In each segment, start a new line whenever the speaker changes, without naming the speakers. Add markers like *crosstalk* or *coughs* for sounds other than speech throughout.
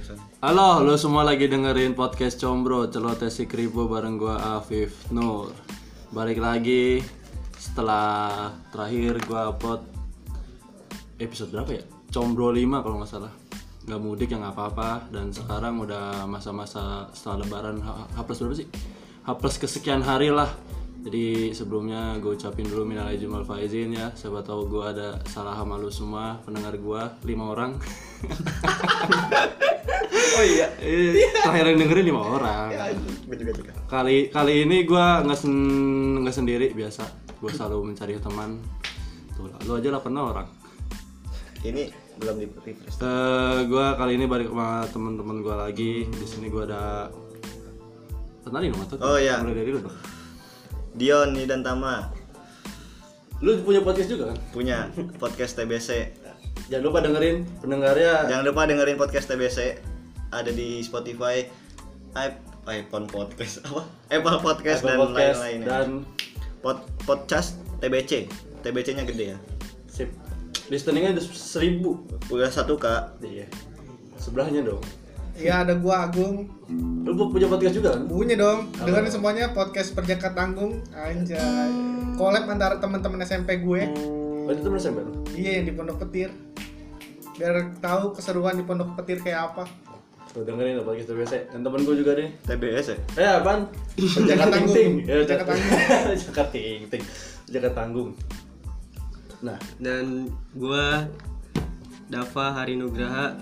San.
Halo, lo semua lagi dengerin podcast Combro, celoteh si Kribo bareng gua Afif Nur. Balik lagi setelah terakhir gua upload episode berapa ya? Combro 5 kalau nggak salah. Nggak mudik yang apa-apa dan sekarang udah masa-masa setelah lebaran H, H plus berapa sih? H plus kesekian hari lah. Jadi sebelumnya gue ucapin dulu minal aidin wal faizin ya. Siapa tahu gue ada salah sama lu semua pendengar gua lima orang.
*laughs* Oh iya.
Eh, terakhir yang dengerin lima orang.
Gue juga juga.
Kali kali ini gua nggak sen- nggak sendiri biasa. Gua selalu mencari teman. Tuh, lu aja 8 orang.
Ini belum di refresh.
Eh, gua kali ini balik sama teman-teman gua lagi. Di sini gua ada Kenalin dong atau
Oh, iya.
mulai dari lu dong.
Dion nih dan Tama
Lu punya podcast juga kan?
punya podcast TBC.
Jangan lupa dengerin pendengarnya
Jangan lupa dengerin podcast TBC ada di Spotify, i- iPhone Podcast apa? Apple Podcast dan lain-lain. ya.
dan
Pod podcast TBC. TBC-nya gede ya.
sip. Listeningnya ada seribu.
Udah satu kak.
Iya. Sebelahnya dong.
Iya ada gua Agung
Lu punya podcast juga kan?
Punya dong Dengerin semuanya podcast Perjaka Tanggung Anjay Collab antara teman-teman SMP gue
Oh, itu temen SMP lu?
Iya yang di Pondok Petir Biar tahu keseruan di Pondok Petir kayak apa
Tuh dengerin lah podcast TBC Dan temen gue juga deh
TBS ya.
Eh apaan? Jakarta
Tanggung.
Ting Ya,
Jakarta
Jakarta Jakarta Ting Ting *laughs* Jakarta Tanggung Nah,
dan gua Dava Harinugraha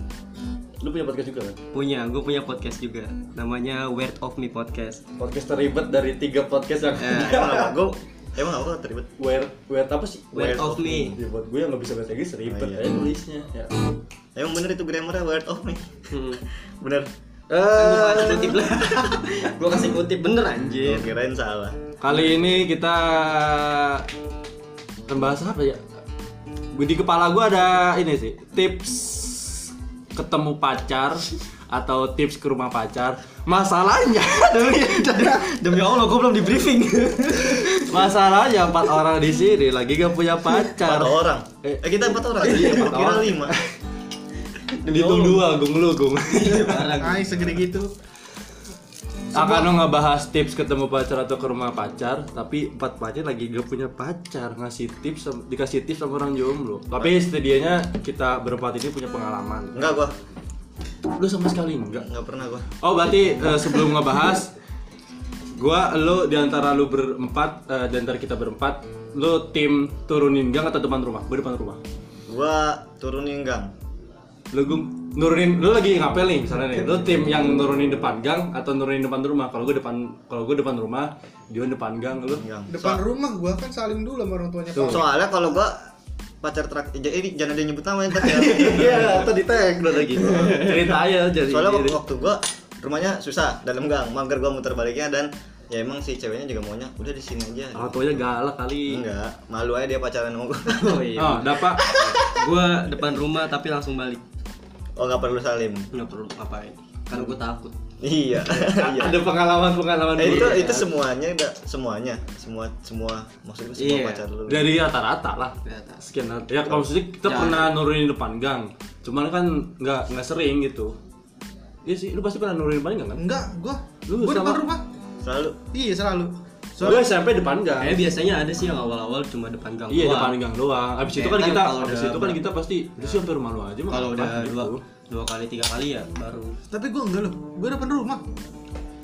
lu punya podcast juga kan?
punya gue punya podcast juga namanya Weird of Me podcast
Podcast terlibat dari tiga podcast yang
Emang apa? Gue emang apa terlibat?
Weird, weird apa sih?
Weird,
Weird
of
of
Me
Ya, buat gue yang gak bisa bahasa Inggris ribet
Oh, iya.
aja nulisnya ya.
Emang bener itu grammarnya word of me.
hmm.
Bener.
Kan Gua kasih kutip lah *laughs* gue kasih kutip bener
Gua
anjir
kirain salah.
Kali ini kita membahas apa ya? Di kepala gue ada ini sih tips ketemu pacar atau tips ke rumah pacar. Masalahnya *laughs* demi
demi
Oh,
allah gue belum di briefing
masalahnya empat orang di sini lagi gak punya pacar.
Empat orang.
Eh,
Eh, kita empat orang.
Iya, empat
Kira
orang.
lima.
Dihitung dua, gung lu gung. *laughs*
Ay segede gitu
Akan lo ngebahas tips ketemu pacar atau ke rumah pacar, tapi empat pacar lagi gak punya pacar ngasih tips sama- dikasih tips sama orang jomblo. Tapi setidaknya kita berempat ini punya pengalaman.
Enggak gua.
Lu sama sekali enggak.
Enggak pernah gua.
Oh berarti eh, sebelum ngebahas *laughs* Gua, lu diantara lu berempat eh, Diantara kita berempat Lu tim turunin gang atau depan rumah? Gua depan rumah
Gua turunin gang.
Lu Gung, nurunin, lu lagi ngapel nih misalnya nih Lu tim yang nurunin depan gang atau nurunin depan rumah Kalau gue depan kalau gue depan rumah Dion depan gang, lu
Gang.
Depan rumah gua kan salim dulu sama orang tuanya
So-
Pak.
soalnya kalau gua pacar terakhir jadi jangan ada yang nyebut namanya ntar ya.
Iya, atau di tag Iya, udah gitu Cerita aja jadi
Soalnya waktu, waktu gua rumahnya susah dalam gang, mager gua muter baliknya dan ya emang si ceweknya juga maunya udah di sini aja.
Orang tuanya galak kali
Enggak, malu aja dia pacaran sama gua. *laughs*
oh iya
Oh, dapat
gue depan rumah tapi langsung balik
Oh nggak perlu salim.
nggak perlu ngapain karena gue takut
*laughs*
Iya. Iya.
Ada pengalaman-pengalaman
Eh, itu
buruk ya.
itu semuanya enggak semuanya semua semua maksudnya semua
Iya.
pacar lu.
dari rata-rata lah
Rata.
sekian rata. ya kalau maksudnya kita
Ya.
pernah nurunin depan gang cuman kan nggak nggak sering gitu Iya sih, lu pasti pernah nurunin depan gang kan?
Enggak gua
Lu
Gua depan
sama-
rumah
Selalu
Iya selalu
Lu SMP depan gang.
kayaknya biasanya ada sih yang awal-awal cuma depan gang
Iya
Eh, doang.
depan gang doang. Abis itu
Eh,
kan
ntar
kita,
kalau
abis
udah
itu kan
ber-
kita pasti udah sih sampai rumah lu aja mah.
kalau udah
Apaan
dua
gitu.
dua kali tiga kali ya baru
Tapi gua enggak loh Gua depan rumah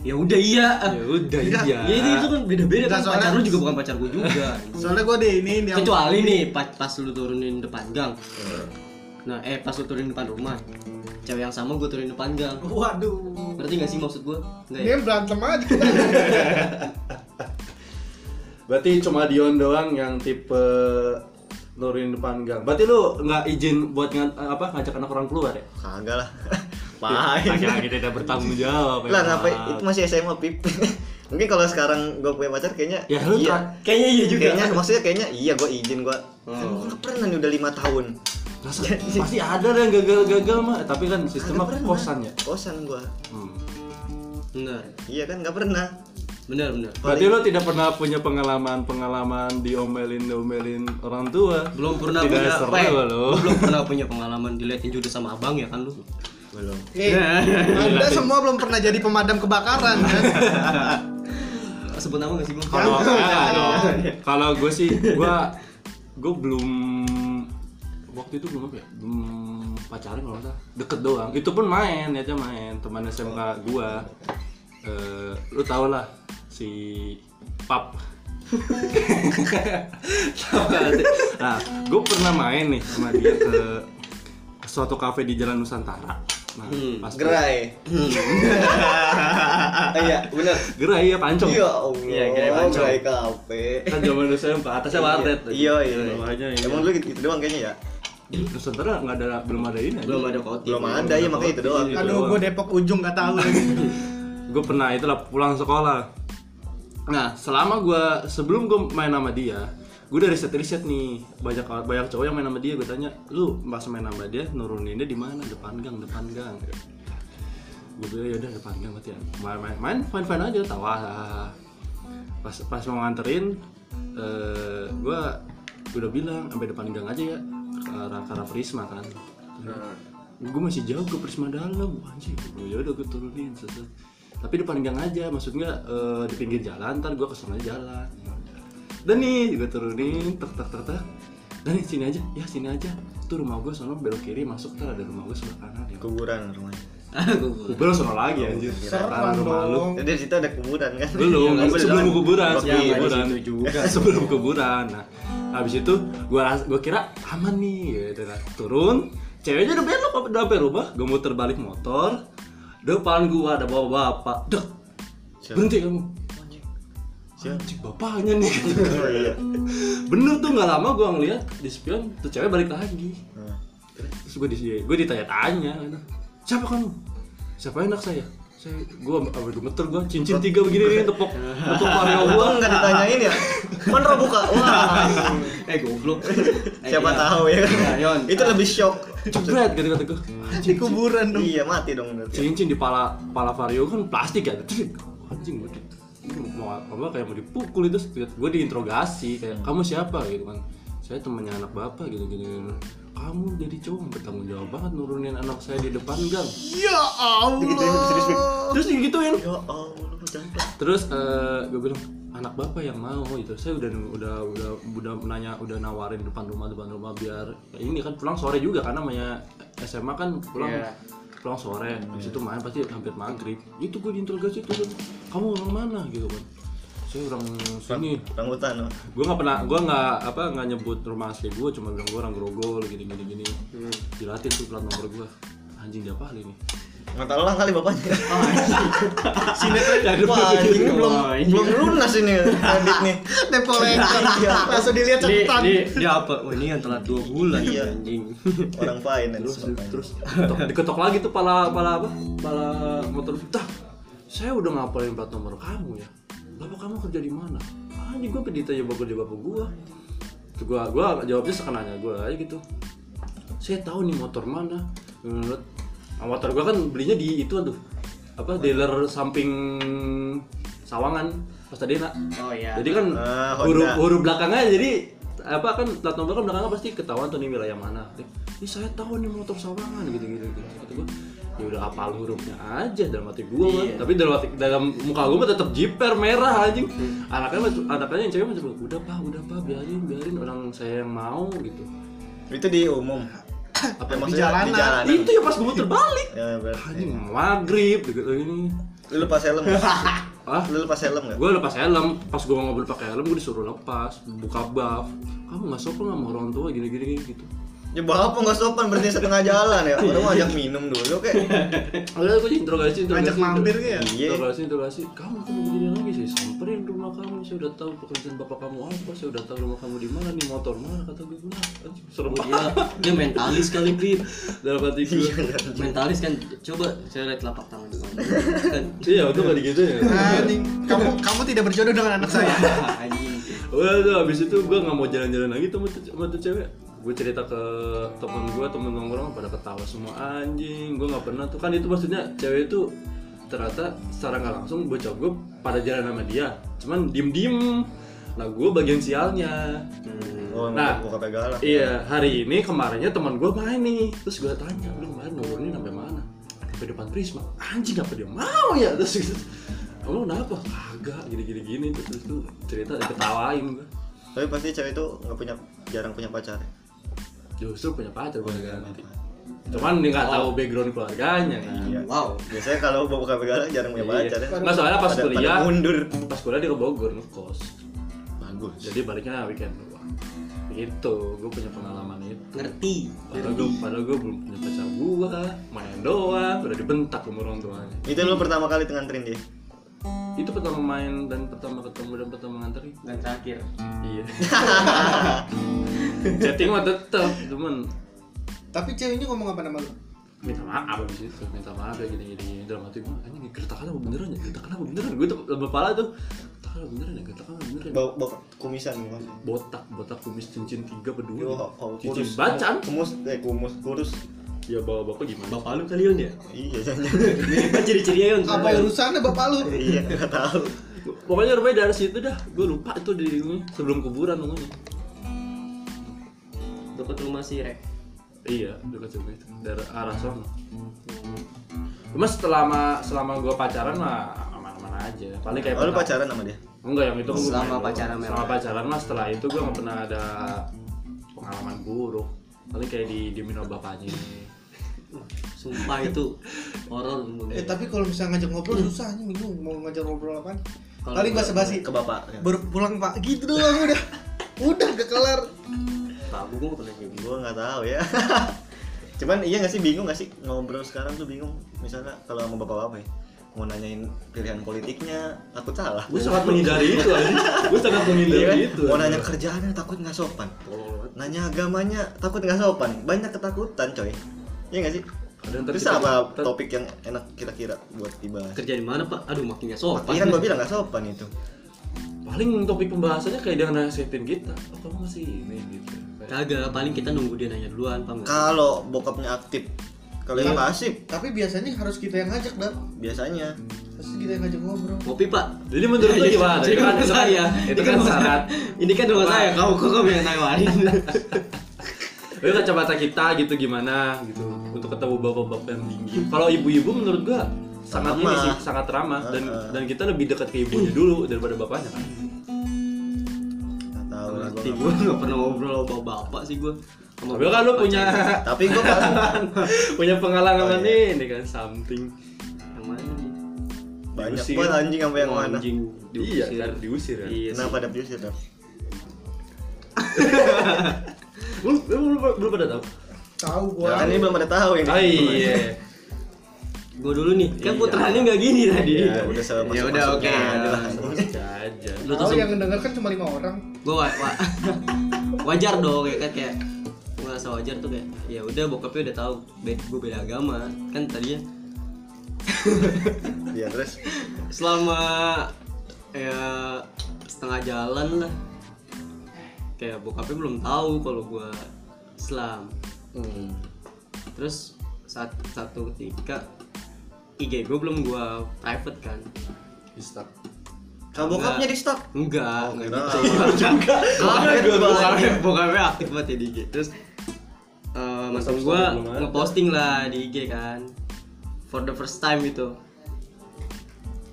ya udah iya
Ya udah
Iya.
iya.
Ya itu, itu kan beda-beda
Nah,
kan pacar
soalnya-
lu juga bukan pacar gue
*laughs*
juga.
Soalnya gua di ini di
Kecuali nih pas, pas lu turunin depan gang.
Iya.
Nah, eh pas lu turunin depan rumah. Cewek yang sama gue turunin depan gang.
Waduh
Ngerti gak sih maksud gue? Enggak ya?
Dia berantem
*laughs*
aja kita.
Berarti cuma Dion doang yang tipe nurunin depan gang. Berarti lu nggak izin buat ngan- eh, apa ngajak anak orang keluar ya?
kagak lah. Pahin.
Laki-laki tidak bertanggung jawab.
Ah, iya.
ya.
lah
emang.
ngapain itu masih SMA pip *laughs* mungkin kalau sekarang gue punya pacar kayaknya
Ya lu
iya
tra-
Kayaknya iya juga.
kayaknya maksudnya kayaknya iya gue izin gue kan gue nggak pernah nih udah lima tahun
Masa- pasti ada deh yang gagal-gagal mah, tapi kan sistemnya kosan ya.
kosan gue
Hmm.
Bener.
iya kan nggak pernah
Bener, bener.
Berarti lo tidak pernah punya pengalaman-pengalaman diomelin-diomelin orang tua.
Belum pernah
tidak
punya eh,
seru
Pe,
lo.
lu belum pernah punya pengalaman diliatin judes sama abang ya kan lu?
belum
Nih, Iya.
Iya,
Anda semua belum pernah jadi pemadam kebakaran kan?
Sebut nama gak sih Bang?
kalau ah, dong. kalau gue sih gue gue belum waktu itu belum apa ya belum pacaran kalau nggak salah deket doang itu pun main ya aja main teman SMK gue Eh, lu tau lah si pap Tau nggak sih? nah gue pernah main nih sama dia ke ke suatu kafe di Jalan Nusantara nah pas tuh-
Hmm, *laughs* gerai iya bener
gerai ya pancong
iya allah
Iya, gerai pancong.
gerai kafe
kan zaman dulu saya atasnya warnet
iya iya
bawahnya ini.
emang lu gitu, gitu doang kayaknya ya
Nusantara nggak ada belum ada ini
Belum ada koti.
belum ada ya makanya itu doang
Iya.
Aduh, gue Depok ujung gak tahu
*laughs*
lagi.
gue pernah itulah pulang sekolah nah selama gue sebelum gue main sama dia gue udah riset riset nih banyak banyak cowok yang main sama dia gue tanya lu pas main sama dia nurunin dia di mana depan gang depan gang gue bilang yaudah depan gang berarti ya main main main fine fine aja tawa pas pas mau nganterin eh gue udah bilang sampai depan gang aja ya ke arah ke arah prisma kan gue masih jauh ke Prisma Dalam anjir oh, ya udah gue turunin seset. tapi depan gang aja maksudnya eh, di pinggir jalan ntar gue kesana jalan dan nih gue turunin tek tek tek tek dan nih, sini aja ya sini aja tuh rumah gue sono belok kiri masuk ntar ada rumah gue sebelah kanan ya
kuburan rumahnya
Ah,
gue belok sono lagi anjir
Serem dong.
jadi di situ ada kuburan kan
belum
*laughs* Iya,
sebelum
kan?
kuburan
Waktu
sebelum
iya,
kuburan
di situ juga.
*laughs* sebelum kuburan nah habis itu gua ras- gua kira aman nih ya udah, turun ceweknya udah belok udah sampai rumah gua muter balik motor depan gua ada bapak bapak dek
Siapa?
berhenti kamu
Siapa? Oh, iya.
anjing bapaknya nih
*laughs*
bener tuh nggak lama gua ngeliat di spion tuh cewek balik lagi
Nah,
terus gue di gue ditanya-tanya gitu. siapa kamu siapa anak saya saya gue abis gemeter gue cincin tiga begini nih tepok tepok *laughs* vario gue
Untung nggak ditanyain ya mana roh buka wah
Eh goblok. Eh,
*laughs* siapa
iya.
tahu ya
Iya, Yon.
kan itu lebih shock
jebret gitu kata gue
Di kuburan dong.
iya mati dong berarti
cincin di pala pala vario kan plastik ya Trik. anjing gue mau apa kayak mau dipukul itu gue diinterogasi kayak kamu siapa gitu kan saya temannya anak bapak gitu gini, gini. kamu jadi cowok yang bertanggung jawab banget nurunin anak saya di depan gang
Ya Allah.
terus digituin
ya allah jangan
terus gue bilang anak bapak yang mau gitu saya udah udah udah udah nanya udah nawarin depan rumah depan rumah biar ya ini kan pulang sore juga karena namanya SMA kan pulang pulang sore habis itu main pasti hampir maghrib itu gue diinterogasi itu kamu orang mana gitu kan saya orang sini
rambutan oh.
gue nggak pernah gue nggak apa nggak nyebut rumah asli gue cuma bilang gue orang grogol gini gini gini dilatih tuh plat nomor gue anjing dia apa nih
mata elang kali bapaknya
Dari
Ah, wah
dulu
ini belum
Wah, ini.
belum lunas ini kredit nih
Depok Langsung dilihat
Ini,
catatan.
ini, dia apa? Wah, ini yang telat 2 bulan
Iya.
anjing.
orang
terus
finance makanya.
terus diketok, diketok lagi tuh pala pala apa pala motor tah saya udah ngapalin plat nomor kamu ya bapak kamu kerja di mana ah ini gue ditanya bapak kerja bapak gue Terus gue gue jawabnya sekenanya gue aja gitu saya tahu nih motor mana Menurut- nah, motor gue kan belinya di itu tuh apa dealer samping sawangan pas tadi nak
Oh iya.
jadi kan
Ah,
huruf
Honda.
huruf belakangnya jadi apa kan plat nomor kan belakangnya pasti ketahuan tuh ini wilayah mana. Ini saya tahu nih motor sawangan gitu gitu gitu. Kata gua, ya udah apal hurufnya aja dalam hati gua kan. Tapi dalam hati, dalam muka gua mah tetap jiper merah anjing. Anaknya mah- anaknya yang cewek masih udah pak udah pak biarin biarin orang saya yang mau gitu.
itu di umum
Apa
Ya,
yang
maksudnya
jalanan.
di jalanan
Itu ya pas gua muter balik.
ya berarti
Anjing maghrib gitu ini.
lu lepas helm nggak?
Ah,
lu lepas helm nggak
gue lepas helm pas gue ngobrol pakai helm gue disuruh lepas buka buff kamu nggak sopan sama orang tua gini gini gini, gitu
ya bapak nggak sopan berarti setengah jalan ya orang mau ajak minum dulu kayak
Udah gue interogasi interogasi
Ngajak mampir gitu ya?
Iya.
Interogasi interogasi Kamu kalau begini lagi saya samperin rumah kamu Saya udah tahu pekerjaan bapak kamu apa Saya udah tahu rumah kamu di mana nih motor mana Kata gue gila anjing, Serem
Oh,
banget
gila, dia mentalis kali Pip.
Dalam hati gue
Mentalis kan coba saya lihat telapak tangan dulu. Kan
Iya itu gak gitu ya
Anjing, kamu kamu tidak berjodoh dengan anak *laughs* saya.
anjing.
Udah tuh abis itu gue gak mau jalan-jalan lagi tuh sama tuh- sama tuh cewek Gue cerita ke temen gue, temen nongkrong pada ketawa semua anjing Gue gak pernah tuh kan itu maksudnya cewek itu ternyata secara nggak langsung bocah gue pada jalan sama dia Cuman diem-diem Nah gue bagian sialnya Iya,
oh
Nah.
nah buka pegalan
Iya, hari ini kemarinnya teman gue main nih. Terus gue tanya, lu kemarin nurunin sampai mana? sampai depan Prisma anjing apa dia mau ya *laughs* terus gitu Emang kenapa? Kagak, gini-gini gini terus tuh cerita diketawain gua.
Tapi pasti cewek itu nggak punya jarang punya pacar. ya?
Justru Oh, iya, punya pacar Oh. gua ganti. Cuman dia nggak tahu background keluarganya kan.
Iya.
Hmm, Wow.
Biasanya kalau bawa buka begal jarang punya pacar. ya.
Iya. Nggak soalnya pas
Pada- pada
kuliah,
mundur.
pas kuliah dia ke Bogor ngekos.
Bagus.
Jadi baliknya weekend doang. Gitu, gua punya pengalaman itu.
Ngerti.
Padahal gue, padahal gua belum punya pacar gua, main doang, udah dibentak sama orang tuanya.
Itu lu pertama kali nganterin dia.
Itu pertama main dan pertama ketemu dan pertama nganterin.
Dan terakhir.
*laughs* Iya. Chatting mah tetep, cuman
Tapi ceweknya ngomong apa nama lu?
minta maaf abis itu minta maaf ya gini gini, gini. dalam hati gue anjing gertakan apa beneran ya gertakan apa beneran gue tuh lembab kepala tuh gertakan apa beneran ya gertakan apa beneran ya?
Bawa, bawa kumisan gua.
botak botak kumis cincin tiga
Yo,
berdua
oh,
cincin
kurus.
bacan
Kumus, eh kumus, kurus.
ya bawa bapak gimana
Bapak lu kali Yun ya?
Iya, *laughs* jangan.
Ini ciri-cirinya ya, Yun.
Apa urusannya bapak lu?
iya, nggak tahu.
pokoknya rumahnya dari situ dah gue lupa itu di sebelum kuburan rumahnya
Dekat rumah si Rek.
iya dekat rumah itu dari arah sono cuma selama selama gue pacaran mah aman-aman aja paling kayak
Oh, lu
pertama-
pacaran sama dia?
Enggak yang itu gua
Selama
main doang.
pacaran memang.
Selama pacaran mas setelah itu gue nggak pernah ada pengalaman buruk. Paling kayak di diemin sama bapaknya.
Sumpah itu horor menurut
Eh
gue.
tapi kalau bisa ngajak ngobrol susah anjing bingung mau ngajak ngobrol apa?
Kalau
Paling
gua- ya.
bahasa basi
Ke bapak.
baru pulang pak gitu doang udah udah gak kelar
Pak, gue gak pernah kayak gitu.
Gua nggak tahu ya. *laughs* Cuman iya nggak sih bingung nggak sih ngobrol sekarang tuh bingung. Misalnya kalau sama bapak bapak ya, mau nanyain pilihan politiknya, takut salah.
Gue sangat menghindari itu aja. Gue sangat *laughs* menghindari
Iya kan?
itu.
Mau nanya kerjaannya takut nggak sopan. Nanya agamanya takut nggak sopan. Banyak ketakutan coy. Iya nggak sih?
Kadang ntar
Terus
kita-
apa
ntar-
topik yang enak kira-kira buat dibahas?
Kerja di mana, Pak? Aduh, makin gak sopan.
Iya kan gua bilang nggak sopan itu.
Paling topik pembahasannya kayak dia nasehatin kita. Oh kamu masih ini gitu. Kayak,
Kagak, paling kita nunggu dia nanya duluan, Pak.
Kalau bokapnya aktif, kalau yang
Iya.
pasif
tapi biasanya harus kita yang ngajak dah
biasanya
pasti kita yang ngajak ngobrol
Kopi, Pak. Iya,
Jadi menurut lu gimana?
Jadi
Itu kan-
rumah
itu kan-
saya.
Itu
Ini
kan
rumah *laughs*
syarat.
saya. Ini kan rumah saya. Kau kok kamu yang nawarin.
Itu kacamata kita gitu gimana gitu untuk ketemu bapak-bapak yang tinggi. Kalau ibu-ibu menurut gua sangat ini
Ramah.
sih sangat ramah dan
Heeh.
dan kita lebih dekat ke ibunya dulu daripada bapaknya kan.
nggak tahu lah gua
Berarti
nggak-
gue gak pernah ngobrol sama bapak sih gue. Sama
Tapi kan lu
bapak
*laughs*
punya
tapi gua paling
punya pengalaman
Oh, iya.
ini kan something
cewek. Yang mana nih?
banyak
Diusir.
banget anjing sampai yang mana
Anjing
*laughs* Iya,
diusir.
kan, diusir, kan.
Iya.
kenapa
Kenapa?
ada diusir dong
belum belum belum- belum pada tahu
tahu
Ya,
gua
kan ini belum ada tahu ini
oh iya
Gue dulu nih. Kan
Iya.
putranya gak gini tadi.
Ya, udah sama
Ya udah oke.
Masuk aja
Lu tuh
tahu yang denger kan cuma lima orang
gue wa wa- *laughs* wajar dong ya kan kayak gue rasa wajar tuh kayak ya udah bokapnya udah tahu gue beda agama kan tadinya
ya terus
selama ya setengah jalan lah kayak bokapnya belum tahu kalau gue Islam Hmm. terus saat satu ketika IG gue belum gue private kan
Istak.
kalau bokapnya di stop
Oh,
enggak enggak
kira-
gitu enggak
Kaget
bokapnya
gua.
bokapnya bokapnya aktif banget ya di IG terus eh mantan
Status
gue
status belum ada.
ngeposting lah di IG kan for the first time itu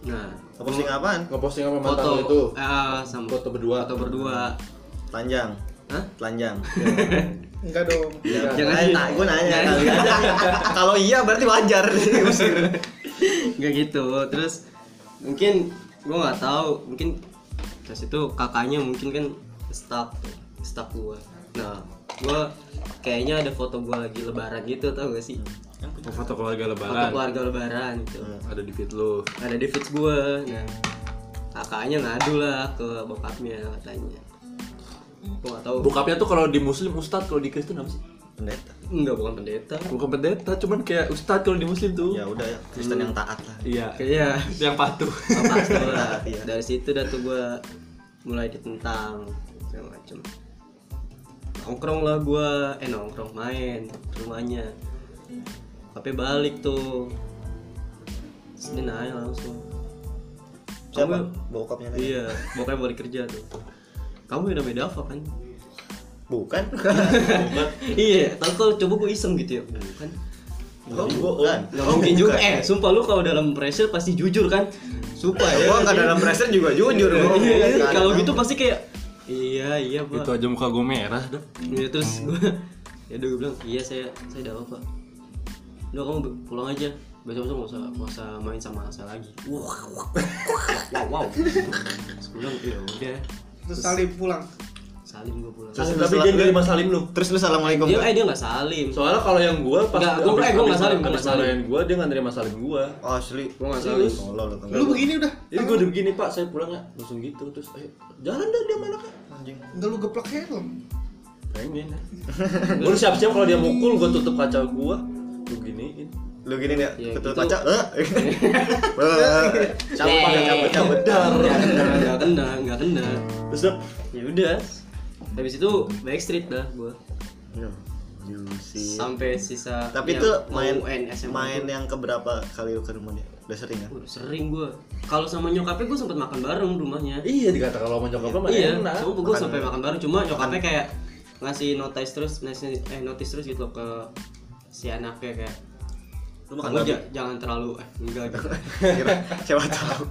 nah
posting apaan
Ngeposting sama mantan
foto
lu itu.
eh, sama
Foto berdua.
foto berdua
telanjang
Hah?
telanjang
enggak dong
Iya.
Ya,
Jangan
eh,
sih.
nah, gua nanya
Jangan.
kali
*laughs*
aja. Kalau iya berarti wajar diusir.
nggak gitu terus mungkin gue nggak tahu mungkin terus itu kakaknya mungkin kan stuck stuck gue nah gue kayaknya ada foto gue lagi lebaran gitu tau gak sih
Foto keluarga
foto
lebaran. Hmm.
keluarga lebaran gitu
Ada di feed lu.
ada di feeds gue nah kakaknya ngadu lah ke bokapnya katanya gue gak tau
Bokapnya tuh kalau di muslim ustad, kalau di Kristen apa sih?
Pendeta.
enggak bukan pendeta
Bukan pendeta, cuman kayak ustad kalau di muslim tuh.
Ya udah ya, Kristen yang taat lah.
Iya.
kayaknya
Yang patuh.
sama pastor lah
Iya.
dari situ dah tuh gue mulai ditentang segala macem nongkrong lah gue eh nongkrong main ke rumahnya tapi balik tuh Terus dia nanya langsung
Siapa?
Kamu-
Bokapnya nanya.
Iya, pokoknya balik kerja tuh. Kamu udah beda apa kan?
Bukan.
*laughs* iya, tapi kalau coba gue iseng gitu ya, bukan?
Gua bukan.
Gak
Oh,
mungkin juga.
bukan.
Eh, sumpah lu kalau dalam pressure pasti jujur kan? Sumpah ya.
Gua nggak dalam pressure juga jujur. gua.
Iya, iya.
Bukan.
Kalau gitu pasti kayak iya iya
Itu
Gitu
pak.
aja muka gue merah dah.
Ya, terus gue ya udah gue bilang iya saya saya tidak apa pak. Udah kamu pulang aja. Besok besok nggak usah nggak usah main sama saya lagi. Wow wow wow. wow. Terus gue bilang ya udah.
terus salim pulang
Salim gue pulang.
Terus-
Tapi dia nerima salim lu.
Terus lu assalamualaikum.
Dia
Kak?
eh dia nggak salim.
Soalnya kalau yang gua pas
Nggak, gua- eh, gua nggak salim, gua
abis
nggak salim.
marahin gua dia nggak nerima salim gua.
Oh, asli.
Gua nggak salim.
Serius? Tolol lu
lu begini udah
Jadi gua udah begini pak, saya pulang ya langsung gitu terus ayo jalan dah dia mana kan?
anjing.
enggak lu geplak helm
Pengen ya. gua udah siap-siap kalau dia mukul gua tutup kaca gua gua giniin.
Lu gini dia,
Ya,
ketul kaca.
gitu. *laughs*
Eh. Eh. Cabut, pakai cabut, cabut. Dar.
Nggak kena, nggak kena, nggak kena.
Terus udah
Ya udah. Habis itu backstreet dah gue.
Yo, you see.
Sampai sisa.
Iya. Tapi
yang
itu
mau
main
UN SMA
main
tuh.
yang keberapa kali lu ke rumah dia? Udah sering
*laughs*
kan?
Waduh, sering gue kalau sama nyokapnya gue sempet makan bareng rumahnya
iya dikata kalau mau nyokap mah
iya
enak.
cuma gue
Makan-
sampai makan bareng cuma nyokapnya kayak ngasih notice terus ngasih eh notice terus gitu loh ke si anaknya kayak lu
ya?"
makan kamu ja- jangan terlalu eh enggak gitu
Kira siapa tahu.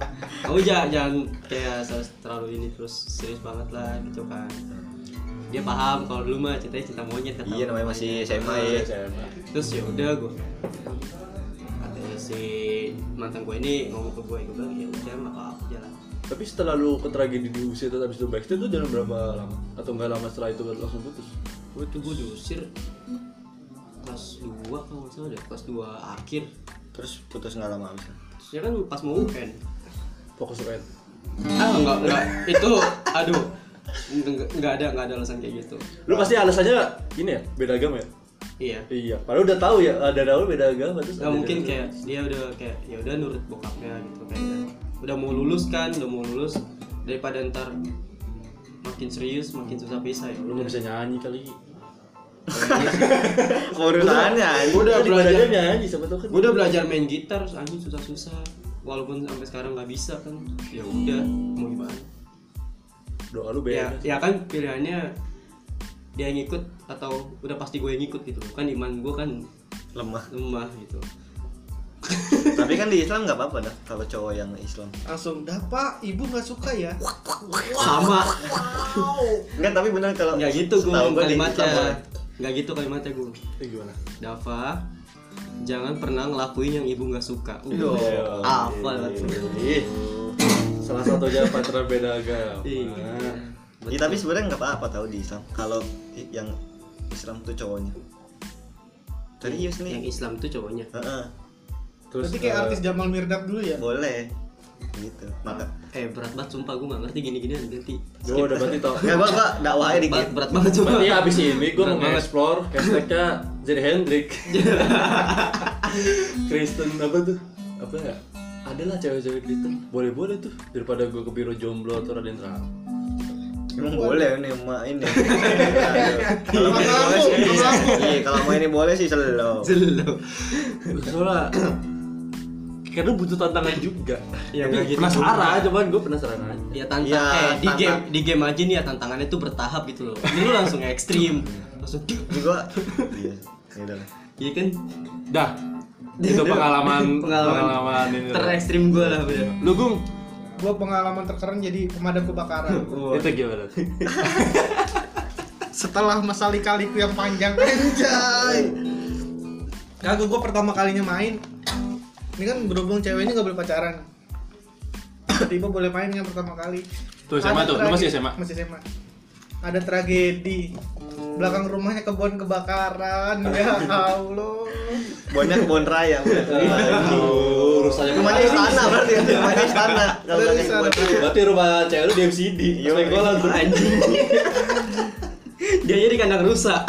kamu ja- jangan kayak harus terlalu ini terus serius banget lah gitu kan dia paham kalau dulu mah ceritanya cinta monyet kata
Iya namanya masih SMA ya.
terus ya udah gue katanya si mantan gue ini ngomong ke gue gue bilang ya udah nggak apa-apa jalan
Tapi setelah lu ke tragedi di Husi itu habis itu backstage itu dalam berapa lama? Atau nggak lama setelah itu langsung putus?
Gue tuh gue diusir kelas 2 kalau nggak salah deh, kelas 2 akhir
Terus putus nggak lama abis.
Terusnya kan pas mau UN
Fokus UN.
Ah enggak, enggak, itu aduh Enggak, enggak ada, enggak ada alasan kayak gitu
Lu pasti alasannya ini ya, beda agama ya?
Iya
Iya, padahal udah tahu ya ada awal beda agama terus.
Nah
ada-
mungkin kayak dia udah kayak ya udah nurut bokapnya gitu kayak udah, udah mau lulus kan, udah mau lulus daripada ntar makin serius makin susah pisah ya
lu nggak bisa nyanyi kali.
Urusannya anjing.
Udah
udah
belajar
belajar.
nyanyi siapa tahu kan.
gue udah belajar main gitar terus anjing susah-susah walaupun sampai sekarang nggak bisa kan ya udah mau gimana
Doa lu beda.
ya ya kan pilihannya dia yang ngikut atau udah pasti gue yang ngikut gitu kan iman gue kan
Lemah.
lemah gitu
Tapi kan di Islam nggak apa-apa dah kalau cowok yang Islam.
langsung dah pak ibu nggak suka ya
sama
Enggak, tapi benar kalau
nggak gitu gue
setahu gua di Islam boleh.
kalimatnya nggak gitu kalimatnya gue
Itu gimana?
Dava jangan pernah ngelakuin yang ibu nggak suka
Yo.
apa ya? lah
Iya. Ih, Salah satu jawaban terbeda agama.
Iya.
Ya, tapi sebenarnya nggak apa-apa tahu di Islam kalau i- yang Islam tuh cowoknya. Serius
yang
nih.
Islam tuh cowoknya
Heeh,
Terus
berarti kayak
eh,
artis Jamal Mirdad dulu ya
boleh. Gitu. Maka
eh berat banget sumpah gue nggak ngerti gini-ginian ganti
Gua udah berarti tau.
Enggak apa-apa, dakwahnya dikit.
berat, berat banget sumpah
*laughs* Berarti abis ini gue
Berat
mau
banget.
nge-explore hashtagnya jadi *laughs* Hendrik. Kristen apa tuh? Apa ya? Adalah cewek-cewek Kristen. Boleh-boleh tuh daripada gue ke biro jomblo atau Raden Terang.
Emang boleh nih emak ini. Kalau
Kalau
mau ini boleh sih.
aku, kalau aku.
Iya, kalau mau ini boleh sih selalu.
Selalu.
Soalnya karena butuh tantangan juga.
Ya,
Tapi
nggak gitu
penasaran, cuman gue penasaran aja.
Ya tantang
Iya,
Ya,
eh di
tantang.
game di game aja nih ya tantangannya tuh bertahap gitu loh. Ini lu langsung ekstrim. Langsung duk.
Juga. Iya. Ya udah. lah.
Iya kan?
Dah. Itu
*laughs*
pengalaman
Pengalaman.
pengalaman ini.
Terekstrim gue lah ya. bener.
Lu Gung,
gua pengalaman terkeren jadi pemadam kebakaran
*laughs*
itu gimana? tuh?
setelah masa lika-liku yang panjang anjay kagak gua pertama kalinya main ini kan berhubung cewek ini nggak boleh pacaran tiba boleh main yang pertama kali
Tuh, SMA
Ada
tuh, lu masih
tragedi-
SMA?
masih SMA ada tragedi belakang rumahnya kebun kebakaran ya Allah
Banyak kebun raya. udah.
Aduh, urusannya
Rumahnya Iya. istana berarti. Rumahnya istana. Kalau
Dari
banyak
sana.
kebun raya.
Berarti rumah cewek lu di MCD.
Iya.
Sekolah tuh. *laughs*
Anjing. Dia jadi kandang rusak.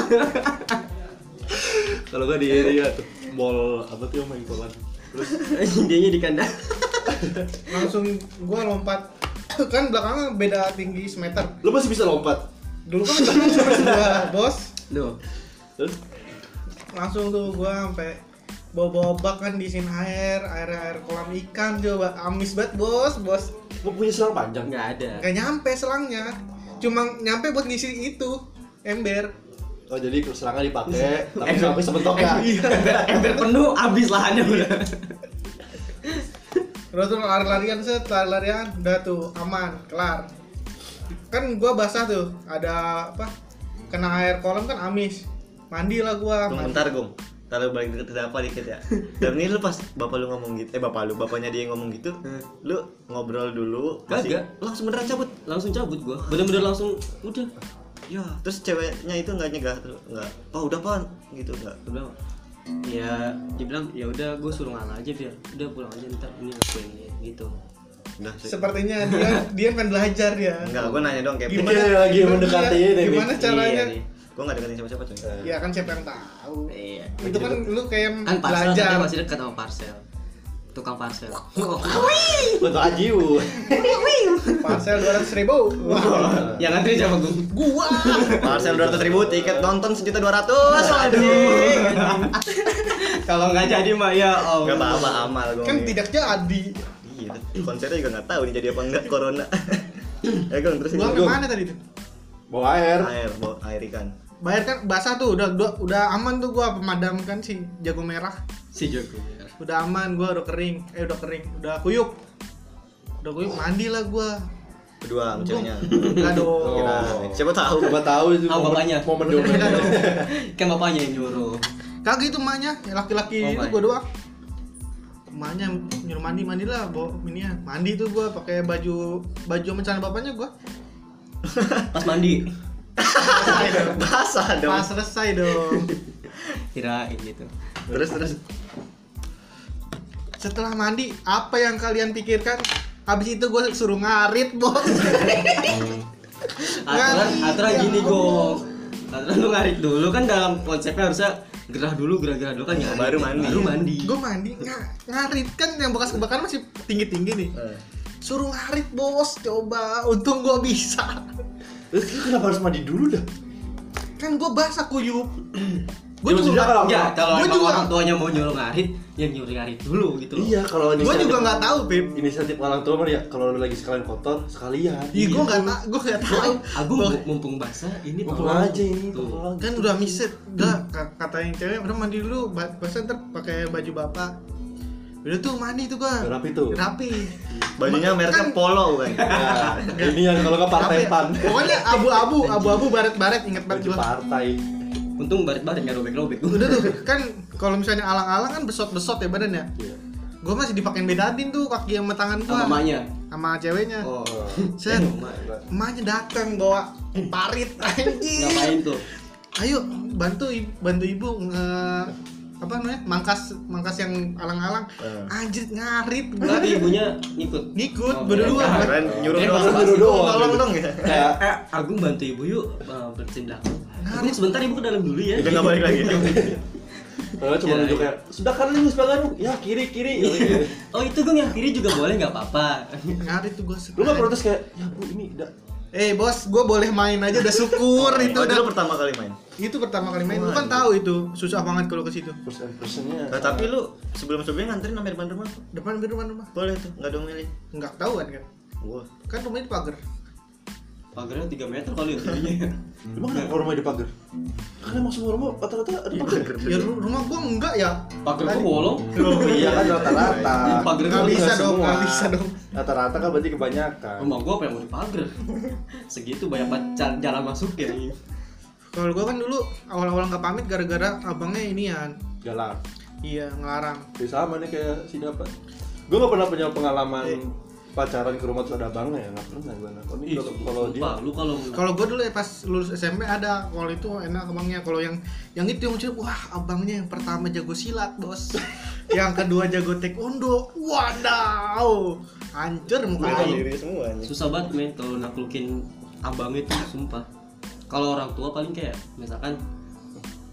Kalau gue di area tuh mall apa tuh yang main kolam. Terus
Anjing dia jadi kandang.
langsung gua lompat *coughs* kan belakangnya beda tinggi semeter
lu masih bisa lompat.
dulu kan belakang cuma sebelah bos
Loh.
Terus
langsung tuh gua sampai bawa-bawa bak kan diisiin air air air kolam ikan coba amis banget bos bos
lu punya selang panjang.
Enggak ada.
nggak nyampe selangnya cuma nyampe buat ngisi itu ember
Oh jadi serangga dipakai, tapi sampai sebentok
eh, *laughs*
ya.
Iya, ember penuh abis lahannya ya. udah
Terus tuh lari-larian set, lari-larian udah tuh aman, kelar. Kan gua basah tuh, ada apa? Kena air kolam kan amis. Mandi lah gua.
Gong,
mandi.
bentar Gong. Ntar lu balik ke apa dikit ya. Dan ini lu pas bapak lu ngomong gitu, eh bapak lu, bapaknya dia yang ngomong gitu, lu ngobrol dulu, kasih-
Kagak.
langsung beneran cabut.
langsung cabut gua bener-bener langsung udah
Ya, terus ceweknya itu nggak nyegah, terus nggak, oh udah pan, gitu nggak.
Gua bilang ya dibilang ya udah gua suruh ngalah aja biar udah pulang aja ntar ini ngakuin ini," gitu
Udah sih.
Sepertinya dia dia pengen belajar ya.
Enggak, gue nanya doang kayak
Gimana? Dia lagi mendekati
iya,
ini,
Gimana
Nih.
*laughs* caranya?
Iya, nih.
Gue nggak deketin siapa-siapa coy.
Eh,
Ya kan siapa yang tahu.
iya
Itu kan
gitu.
lu kayak
kan parcel
belajar.
katanya masih dekat sama parcel tukang parcel
Bentuk ajiu.
Parcel 200 ribu.
yang ngantri Ya siapa gua
Iya.
Gua.
Parcel dua ratus ribu, tiket nonton sejuta dua ratus. Aduh,
kalau nggak jadi mah ya allah
nggak apa-apa amal gitu. gue.
kan tidak jadi.
Iya, konsernya juga nggak tahu nih jadi apa enggak corona. ya Gong, terus
Gua
Iya.
ini.
sampai mana tadi tuh?
Bawa air.
air, bawa air ikan.
Bayar kan basah tuh udah udah, udah aman tuh gua pemadamkan si jago merah.
si Joko ya.
udah aman gua udah kering eh udah kering udah kuyuk udah kuyuk mandi lah gue
Kedua, sama ceweknya.
enggak dong
Kira,
Oh.
siapa tahu?
Coba tahu itu
Tahu
momen-
bapaknya. Iya,
Momen dulu.
enggak dong
kan bapaknya yang nyuruh
kagak itu emaknya ya laki-laki
Oh,
itu
my.
gue doang emaknya nyuruh mandi mandi lah bawa ininya mandi tuh gua pakai baju baju sama celana bapaknya gua
pas mandi
Basah dong.
pas selesai dong
kirain gitu
Terus terus
setelah mandi apa yang kalian pikirkan habis itu gue suruh ngarit bos
aturan
Ngarit,
aturan
ya
gini
Allah.
gong aturan lu ngarik dulu kan dalam konsepnya harusnya gerah dulu gerah-gerah dulu kan ngarik.
Baru mandi.
baru mandi
gue mandi nga- ngarit kan yang bekas kebakaran masih tinggi tinggi nih
eh,
suruh ngarit bos coba untung gua bisa
Terus lu kenapa harus mandi dulu dah?
kan gua basah kuyup
Ya, maksudnya kalau-
ya kalau
Gua
emang
juga.
orang tuanya mau nyuruh ngarit ya nyuruh ngarit dulu gitu loh
Iya, kalau
gua juga nggak tahu Beb
Inisiatif orang tua mah ya kalau lu lagi sekalian kotor sekalian.
Iya, gua nggak tahu, gua nggak tahu.
aku mu- mumpung basah ini
Mumpung
tolong.
aja ini,
Tuh.
tolong.
Kan udah miset, Hmm. udah ka- kata yang cewek udah mandi dulu, ba- basah ntar pakai baju bapak. Udah tuh mandi tuh gua.
Udah rapi tuh.
Rapi.
bajunya mereknya
Kan-
polo bukan?
Ya, ini yang kalau nggak partai
Rapi.
pan.
Pokoknya abu-abu, abu-abu baret-baret inget
Baju
banget ya? gua.
partai.
untung baret-baret nggak robek-robek
Udah tuh kan kalau misalnya alang-alang kan besot-besot ya badannya.
Iya.
Gua masih dipakein bedadin tuh kaki sama tangan gua.
*laughs* sama mamanya
Sama ceweknya.
oh
Set.
Eh, emak.
Emaknya datang bawa parit anjing.
ngapain tuh
Ayo bantu i- bantu ibu nge apa namanya? Mangkas mangkas yang alang-alang.
Eh.
Anjir ngarit gua.
tapi ibunya ngikut
Ngikut
Oh,
berdua.
iya.
Keren nyuruh
Eh,
doang.
basa-basi
Nyuruh doang.
doang.
Tolong dong ya.
Kayak
eh Agung bantu ibu yuk eh, bersihin belakang Agung sebentar ibu ke dalam dulu ya
Udah nggak balik lagi.
Padahal cuma
Iya,
nunjuk
iya.
kayak sudah kan lu sudah kan lu ya kiri kiri.
*laughs* oh itu gue yang kiri juga boleh nggak apa-apa
Ngarit tuh gua.
Lu nggak protes kayak ya bu ini udah
Eh bos, gua boleh main aja udah syukur itu
Oh, itu lu
udah.
pertama kali main.
Itu pertama kali main. Lu kan tahu itu susah banget kalau ke situ.
first impressionnya.
Nah, tapi lu sebelum sebelumnya nganterin sampai depan rumah tuh.
Depan pintu depan rumah.
Boleh tuh, nggak dong milih.
Enggak tahu kan kan.
Wah,
Kan rumahnya di pagar.
pagarnya 3 meter kali ya tingginya
Emang kenapa rumah di pagar? Kan emang semua rumah rata-rata ada pagar.
Ya ru- rumah gua enggak ya.
pagar gue bolong
Oh,
Iya kan rata-rata.
Pagar
Nggak
gua
bisa
Nggak
dong,
semua.
nggak bisa dong.
Rata-rata kan berarti kebanyakan.
rumah gue apa yang mau dipagar segitu banyak banget cal- jalan masuk ya
Kalau gua kan dulu awal-awal nggak pamit gara-gara abangnya inian.
Jalan.
Iya, ngelarang.
Ya sama nih kayak si dapat. Gue gak pernah punya pengalaman pacaran ke rumah terus ada abangnya ya nggak pernah gue nonton
Ih,
kalau dia
sumpah, lu kalau
Kalau gue dulu ya pas lulus SMP ada kalau itu enak abangnya. Kalau yang yang itu yang lucu, wah abangnya yang pertama jago silat bos, yang kedua jago taekwondo. Wadaw, hancur
Iya,
muka lu.
sendiri semua anjing.
susah banget men kalau naklukin abang itu sumpah kalau orang tua paling kayak misalkan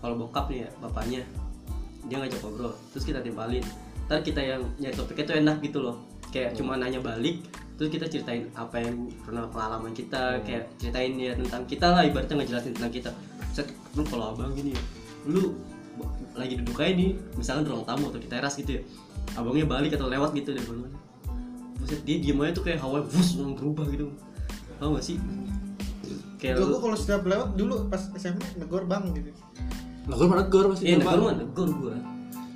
kalau bokap nih ya bapaknya dia ngajak ngobrol terus kita timbalin ntar kita yang nyari topiknya tuh enak gitu loh kayak cuma nanya balik terus kita ceritain apa yang pernah pengalaman kita kayak ceritain ya tentang kita lah ibaratnya ngejelasin tentang kita Set, lu kalau abang gini ya lu b- lagi duduk aja nih misalkan di ruang tamu atau di teras gitu ya abangnya balik atau lewat gitu dari mana Buset dia diem aja tuh kayak Hawaii bus langsung berubah gitu Tau gak sih? kayak
Juga gue
lu
kalau setiap lewat dulu pas SMA negor bang gitu.
Nah, gue mana gor pasti.
iya
Bang.
negor mah negor gua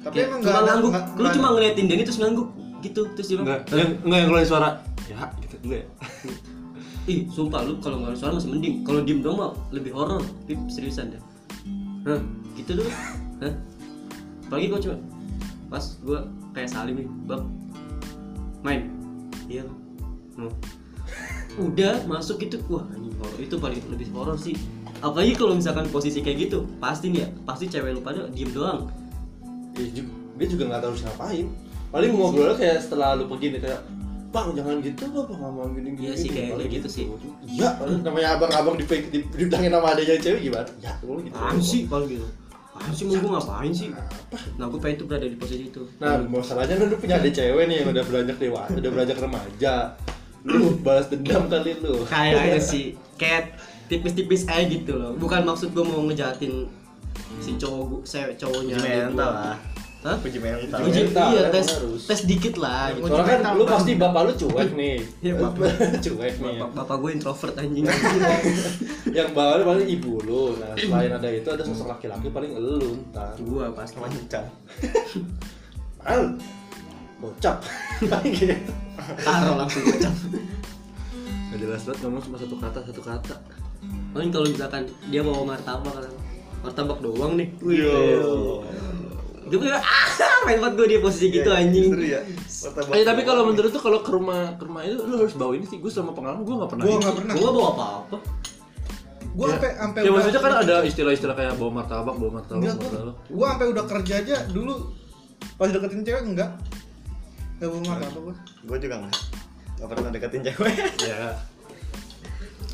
Tapi
Kayak
emang
cuma
nggak ada-
ngangguk
nggak-
lu
nggak
cuma
ada.
ngeliatin dia terus ngangguk gitu terus dia bilang
Enggak, yang enggak yang keluarin suara. Ya, gitu enggak ya.
ih sumpah lu kalau ngeluarin suara masih mending kalau diem doang mah lebih horor pip seriusan deh Hah, gitu dulu Hah? apalagi gua cuma pas gua kayak salim nih bab main iya Bang. Nuh. udah masuk gitu wah anjing horor itu paling lebih horor sih apalagi kalau misalkan posisi kayak gitu pasti nih ya pasti cewek lu pada diem doang
Ya, ju- dia juga enggak tahu harus ngapain. Paling ngobrolnya kayak setelah lu pergi nih kayak Bang jangan gitu bang, bang ngomong gini gini.
Iya sih,
gini."
kayak
Paling
gitu sih.
Iya, paling namanya abang-abang di di dibilangin sama adanya cewek gimana? Ya, lu gitu.
apaan sih kalau gitu apaan sih mau gua ngapain sih nah gua pengen tuh berada di posisi itu
Nah, masalahnya lu punya adik cewek nih yang udah beranjak dewasa, udah beranjak remaja. Lu balas dendam kali lu.
kayaknya sih kayak tipis-tipis aja gitu loh bukan maksud gue mau ngejahatin si cowok gua- cewek cowoknya
Uji
adik
mental
gua.
lah.
Hah?
Uji mental.
Uji,
mental,
iya
emang
tes
harus.
tes dikit lah gitu.
Soalnya kan lu pasti bapak lu cuek nih.
Iya, Bapak.
*laughs* cuek nih.
bapak, bapak gue introvert anjing
Yang bawa lu paling ibu lu. Nah, selain ada itu ada sosok laki-laki paling elu ntar.
gue pasti
Lancar.
Al.
*laughs*
Bocap. Paling gitu.
taruh langsung gue cap
Gak jelas banget ngomong cuma satu kata satu kata.
paling kalau misalkan dia bawa martabak kan martabak doang nih
Iya.
iya.
Yo.
dia bilang ah main banget gue dia posisi
Iya,
gitu anjing
Seru Iya, ya.
Eh, tapi kalau menurut tuh kalau ke rumah ke rumah itu lu harus bawa ini sih. Gue selama pengalaman gue nggak pernah.
Gua
ini.
nggak pernah.
gue bawa apa-apa *laughs*
Gue sampai sampai gitu.
Ya maksudnya kan ada istilah-istilah kayak bawa martabak, bawa martabak,
Enggak
bawa
gue.
martabak.
Gue sampai udah kerja aja dulu pas deketin cewek enggak. Enggak mau makan apa gue.
gue juga nggak nggak pernah deketin cewek. *laughs*
Ya.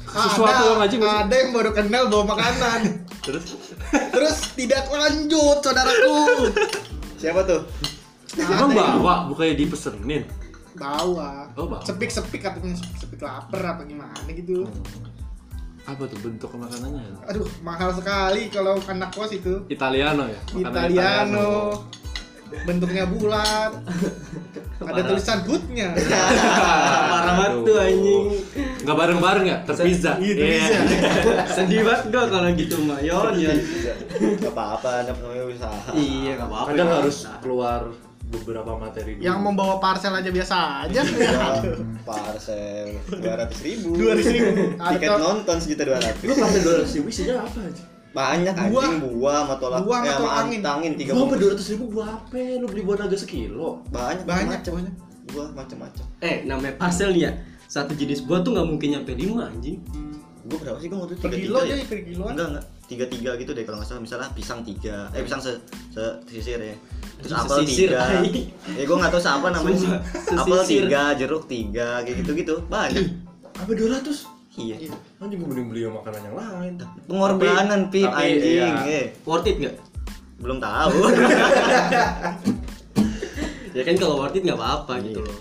Sesuatu yang aja nggak sih?
ada yang baru kenal bawa makanan.
Terus
Terus tidak lanjut saudaraku.
Siapa tuh?
emang
Ada yang
bawa bukannya dipesenin.
Bawa.
Oh, bawa.
Sepik-sepik katanya sepik lapar apa gimana gitu.
Apa tuh bentuk makanannya?
Aduh, mahal sekali kalau anak kos itu.
Italiano ya. Makanan oh.
Italiano. Bentuknya
*laughs*
bulat. ada tulisan hoodnya.
Iya.
parah banget tuh anjing
Nggak bareng-bareng ya? Terpisah.
Iya, tulisan.
sedih banget gue kalau gitu mah
Oh,
yon
iya,
*laughs*
yon
Gak apa-apa, ada namanya usaha.
iya gak apa-apa
Kadang
ya.
harus keluar beberapa materi dulu.
Yang membawa parcel aja biasa aja.
Iya.
Ya, Parcel dua ratus ribu.
200.000.
Tiket
Atau-
nonton sejuta dua ratus.
lu pasal 200 ribu isinya apa aja?
Banyak
Buah.
anjing buah sama tolak
Buah sama
eh,
tolak angin.
angin tiga
Gua sampai
bungkus.
200 ribu gua apa? Lu beli buah naga sekilo.
Banyak
Banyak
macam.
cowoknya.
Buah macam-macam.
Eh, namanya parcel nih ya. Satu jenis buah tuh nggak mungkin nyampe lima anjing.
Gue berapa sih gue waktu itu
Per
gitu ya?
tiga ya?
kilo
tiga
jadi per kiloan.
Enggak enggak tiga tiga gitu deh kalau nggak salah misalnya pisang tiga eh pisang se se sisir ya terus
Anjing,
apel
sesisir,
tiga
tai.
ya gue nggak tahu siapa namanya sih
Sumpah,
apel
sesisir.
tiga jeruk tiga kayak gitu gitu banyak
Apa 200?
iya
Anjing gua mending beli makanan yang lain.
pengorbanan pin
tapi,
anjing
iya.
eh
Worth it nggak?
belum tahu
Ya kan kalau worth it nggak apa-apa gitu
Iya.
loh.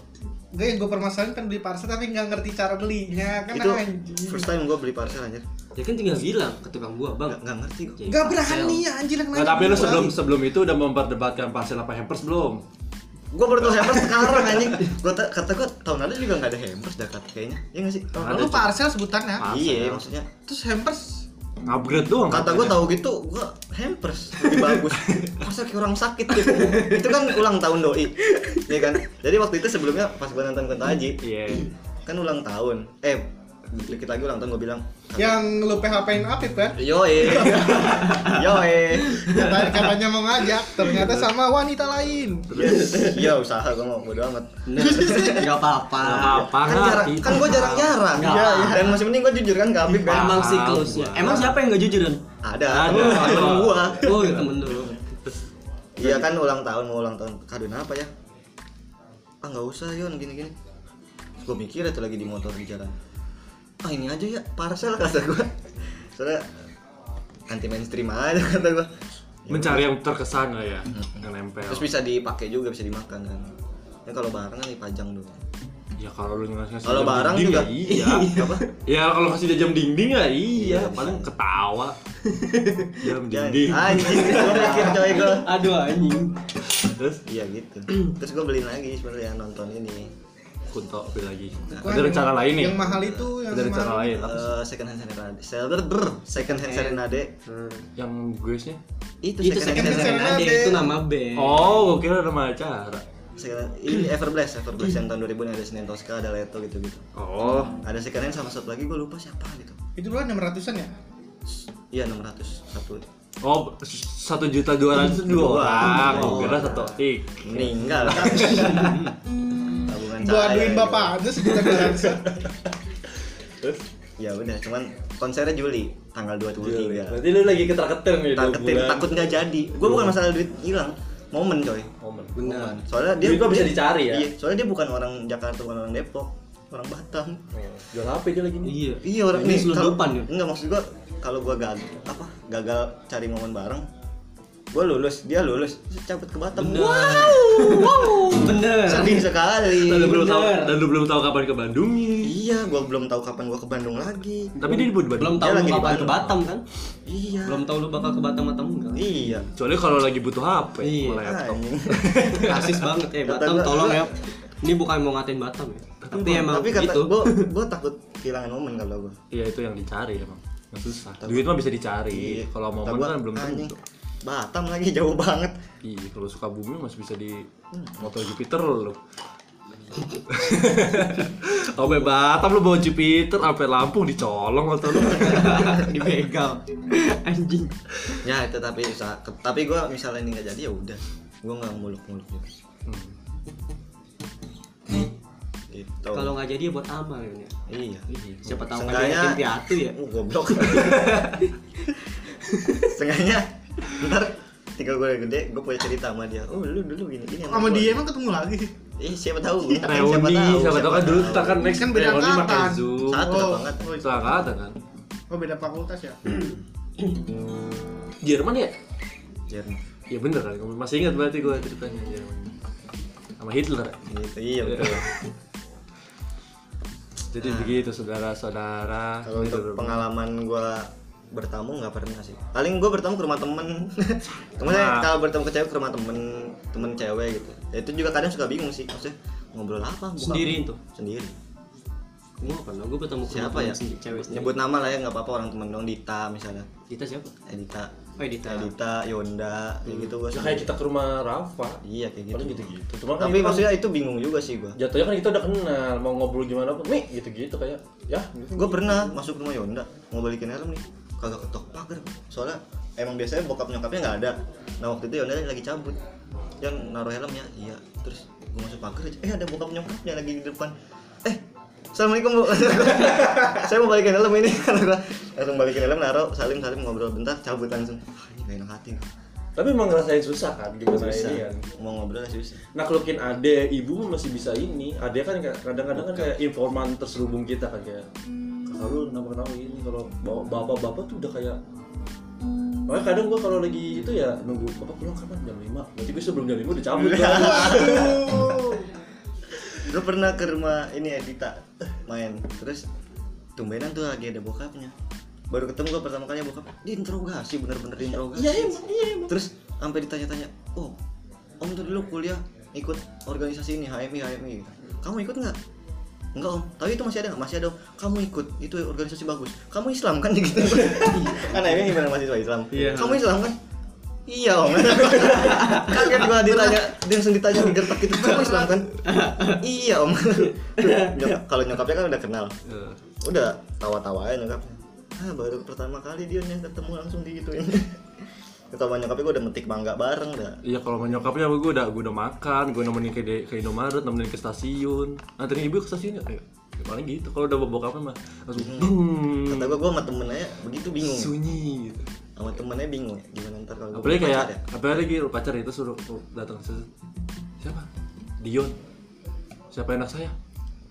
Enggak yang gue permasalahin kan beli parcel tapi nggak ngerti cara belinya kan
*laughs* itu
anjing.
first time gue beli parcel anjir
Ya kan tinggal bilang ke tukang buah bang.
nggak nggak ngerti gue
Ya,
Nggak
parcel.
berani ya anjir yang
Nah, tapi lu sebelum sebelum itu udah memperdebatkan parcel apa hampers belum?
gue baru tau hampers sekarang anjing gue kata gue tahun lalu juga nggak ada hampers dah kata kayaknya ya nggak sih
Kalau
Ada,
lu
Cok.
parcel sebutannya.
Parcel.
iya maksudnya
Terus hampers
Upgrade doang.
kata gue tahu gitu gue hampers lebih bagus masa kayak orang sakit gitu itu kan ulang tahun doi ya kan jadi waktu itu sebelumnya pas gue nonton Kunto Aji
Iya.
kan ulang tahun eh dikit lagi ulang tahun gue bilang
yang lu PHP-in Apip kan.
yoe yoe
Katanya, katanya Iya, kan? mau ngajak, ternyata sama wanita lain.
yes. ya usaha gue mau bodo amat
Nah, *laughs* Nggak apa-apa.
Apa
kan jarang kan gue jarang-jarang
Nggak.
Iya, iya. dan masih mending gue jujur kan ke Habib kan
Emang
Paham
sih close-nya. Emang siapa yang nggak jujuran?
ada
Ada.
temen gue
Oh, ya temen dulu.
iya kan ulang tahun mau ulang tahun kadoin apa ya ah nggak usah yon gini-gini gue mikir itu lagi di motor di jalan ah ini aja ya parcel kata gue soalnya anti mainstream aja kata gue
Mencari yang terkesan lah ya, yang nempel.
terus bisa dipakai juga bisa dimakan kan ya kalau barang kan dipajang dulu
Ya kalau lu ngasih
kalau
jam
barang
dinding
juga
ya
*laughs*
iya.
apa
ya kalau ngasih dia jam dinding ya iya,
Iya.
paling ketawa.
*laughs*
jam
Jangan-
dinding.
anjing gue iya, mikir coy
*laughs*
gue
Aduh anjing.
Terus
iya gitu terus gue beliin lagi sebenarnya nonton ini
Punto beli lagi.
Bukan,
Ada rencana
yang-
lain nih.
Yang mahal itu yang
Ada rencana
mahal.
lain. Iya, Apa sih? Eh.
Eh, second hand serenade seller brr, second hand serenade
Hmm.
Yang gue sih.
itu,
Itu second hand
Serenade.
Serenade, itu
ya?
nama band.
Oh, gue kira nama acara.
Second- ini Everblast Everblast yang tahun 2000 nih ada Senin Tosca ada Leto gitu gitu
Oh,
ada second hand sama satu lagi gue lupa siapa gitu
Itu berapa 600-an ya?
iya 600 satu
oh satu juta dua ratus dua orang. Gue kira satu ik.
meninggal kan tabungan
Gua
cahaya
aduin
gitu.
bapak aja sejuta dua ratusan.
ya udah cuman konsernya Juli tanggal 23
Iya, Berarti lu lagi ketar-ketir nih dua
tak ketim
bulan.
Iya, takut nggak jadi gue bukan masalah duit hilang momen coy
Momen.
Benar.
soalnya dia
Nah. Duit mah bisa
dia-
dicari ya?
iya soalnya dia bukan orang Jakarta bukan orang Depok orang Batam
Jual HP dia lagi nih.
Iya.
iya orang
ini
nih kalau-
selundupan ya.
enggak maksud gue kalau gue gagal apa gagal cari momen bareng gue lulus dia lulus cabut ke Batam
Bener.
wow
Bener.
sedih
Dan lu
sekali
belum tahu
Bener.
dan lu belum tahu kapan ke Bandung.
iya gue belum tahu kapan gue ke Bandung lagi
Tapi dia di Bandung.
Belum tahu
Dia
lu
lagi di
bakal ke
Bandung.
Batam kan?
iya
Belum tahu lu bakal ke Batam atau enggak.
iya
Soalnya kalau lagi butuh HP,
Iya.
mulai laptop.
*laughs* Rasis banget eh
Kata
Batam
gua-
tolong ya. Ini bukan mau ngatain Batam ya. Tapi
Gua-
emang
tapi kata
gitu. *laughs*
gue takut kehilangan momen kalau gue
Iya itu yang dicari emang. Yang susah. Duit mah bisa
Iya.
dicari.
Iya,
Kalau momen kan belum tentu.
Batam lagi jauh banget
Iya, kalau suka bumi masih bisa di motor Jupiter *laughs* lo. Sampai Batam lu bawa Jupiter, sampai Lampung dicolong motor lu.
dibegal anjing
ya itu tapi usaha- ke- tapi gue misalnya ini nggak jadi ya udah gue nggak muluk-muluk gitu
Hmm.
gitu
kalau nggak jadi ya buat amal ya Nia.
iya
siapa tahu kan
Seenggaknya-
yatim piatu ya
uh, *laughs* goblok sengaja ntar tiga gue gede gue punya cerita sama dia oh lu dulu gini gini
Sama
gua."
dia emang ketemu lagi.
ih siapa tahu kan
Reuni, siapa tahu kan dulu kita kan next
Kan beda
reuni pakai
angkatan.
Zoom.
Satu
Oh.
banget.
Satu angkatan kan.
Oh beda fakultas ya?
Jerman ya?
Jerman.
Iya bener kan, kamu masih ingat berarti gue ceritanya Jerman Sama
*laughs*
Hitler ya?
gitu iya betul
Jadi
Nah.
begitu saudara-saudara Ini
kalau untuk
dulu.
pengalaman gue bertamu nggak pernah sih paling gue bertamu ke rumah temen *laughs* temennya
Nah.
kalau bertemu ke cewek ke rumah temen temen cewek gitu ya, itu juga kadang suka bingung sih maksudnya ngobrol apa buka-
Sendiriin tuh?
sendiri
gua apa pernah gua bertemu sama
siapa
temen
ya
sendiri, cewek sendiri.
nyebut nama lah ya nggak apa-apa orang temen dong Dita misalnya
Dita siapa
Edita
oh Dita
Edita Yonda kayak gitu gue
Ya, kayak kita ke rumah Rafa.
iya kayak
Paling
gitu
gitu-gitu. Cuma kan
tapi
itu kan
maksudnya itu bingung juga sih gue
jatuhnya kan kita udah kenal, mau ngobrol gimana pun, Mi, gitu-gitu kayak ya. gitu.
gue pernah masuk rumah Yonda mau balikin helm nih kagak ketok pagar soalnya emang biasanya bokap nyokapnya nggak ada nah waktu itu Yonda lagi cabut yang naruh helmnya iya terus gue masuk pagar aja eh ada bokap nyokapnya lagi di depan eh assalamualaikum bu *laughs* saya mau balikin helm ini *laughs* Kata gua. langsung balikin helm naruh salim salim ngobrol bentar cabut langsung Wah, ini gak enak hati gua.
Tapi emang ngerasain susah kan gimana
susah
ini kan.
mau ngobrol ya, susah
Naklukin ade, ibu mah masih bisa ini. Ade kan kayak- kadang-kadang kan kayak informan terselubung kita kan kayak kakak lu kenapa kenapa ini kalau bawa- bapak-bapak tuh udah kayak Makanya kadang gua kalau lagi itu ya nunggu bapak pulang kapan jam 5 Berarti gua sebelum jam 5 udah
*laughs*
cabut
Iya.
kan.
gue pernah ke rumah ini Edita main terus tumbenan tuh lagi ada bokapnya baru ketemu gue pertama kali ya, bokap diinterogasi bener-bener diinterogasi
Iya emang, iya emang
terus sampai ditanya-tanya oh om tuh dulu kuliah ikut organisasi ini HMI HMI kamu ikut nggak Enggak om, tapi itu masih ada nggak? Masih ada om. Kamu ikut, itu organisasi bagus. Kamu Islam kan *laughs* gitu. kan HMI gimana mahasiswa Islam?
Iya.
Kamu Islam kan? Iya
*laughs*
om. Kaget gua ditanya, dia langsung ditanya di gertak gitu. Kamu Islam
*laughs*
kan? iya om. Nyok- Kalau nyokapnya kan udah kenal
Eh,
udah tawa-tawa aja nyokap ah baru pertama kali dia nih ketemu langsung *laughs* digituin ketemu nyokapnya gue udah metik mangga bareng dah
Iya kalau sama nyokapnya sama gue udah gue udah makan, gue nemenin ke, ke Indomaret, nemenin ke stasiun, anterin ibu ke stasiun ya. Ya, paling gitu. Kalau udah bawa bokapnya mah langsung "Dung."
kata gue gue sama temennya begitu bingung
sunyi gitu.
sama temennya bingung gimana ntar kalau gua
Apalagi
pacar ya?"
kayak apalagi gitu pacar itu suruh oh, datang Terus, siapa? Dion. Siapa anak saya?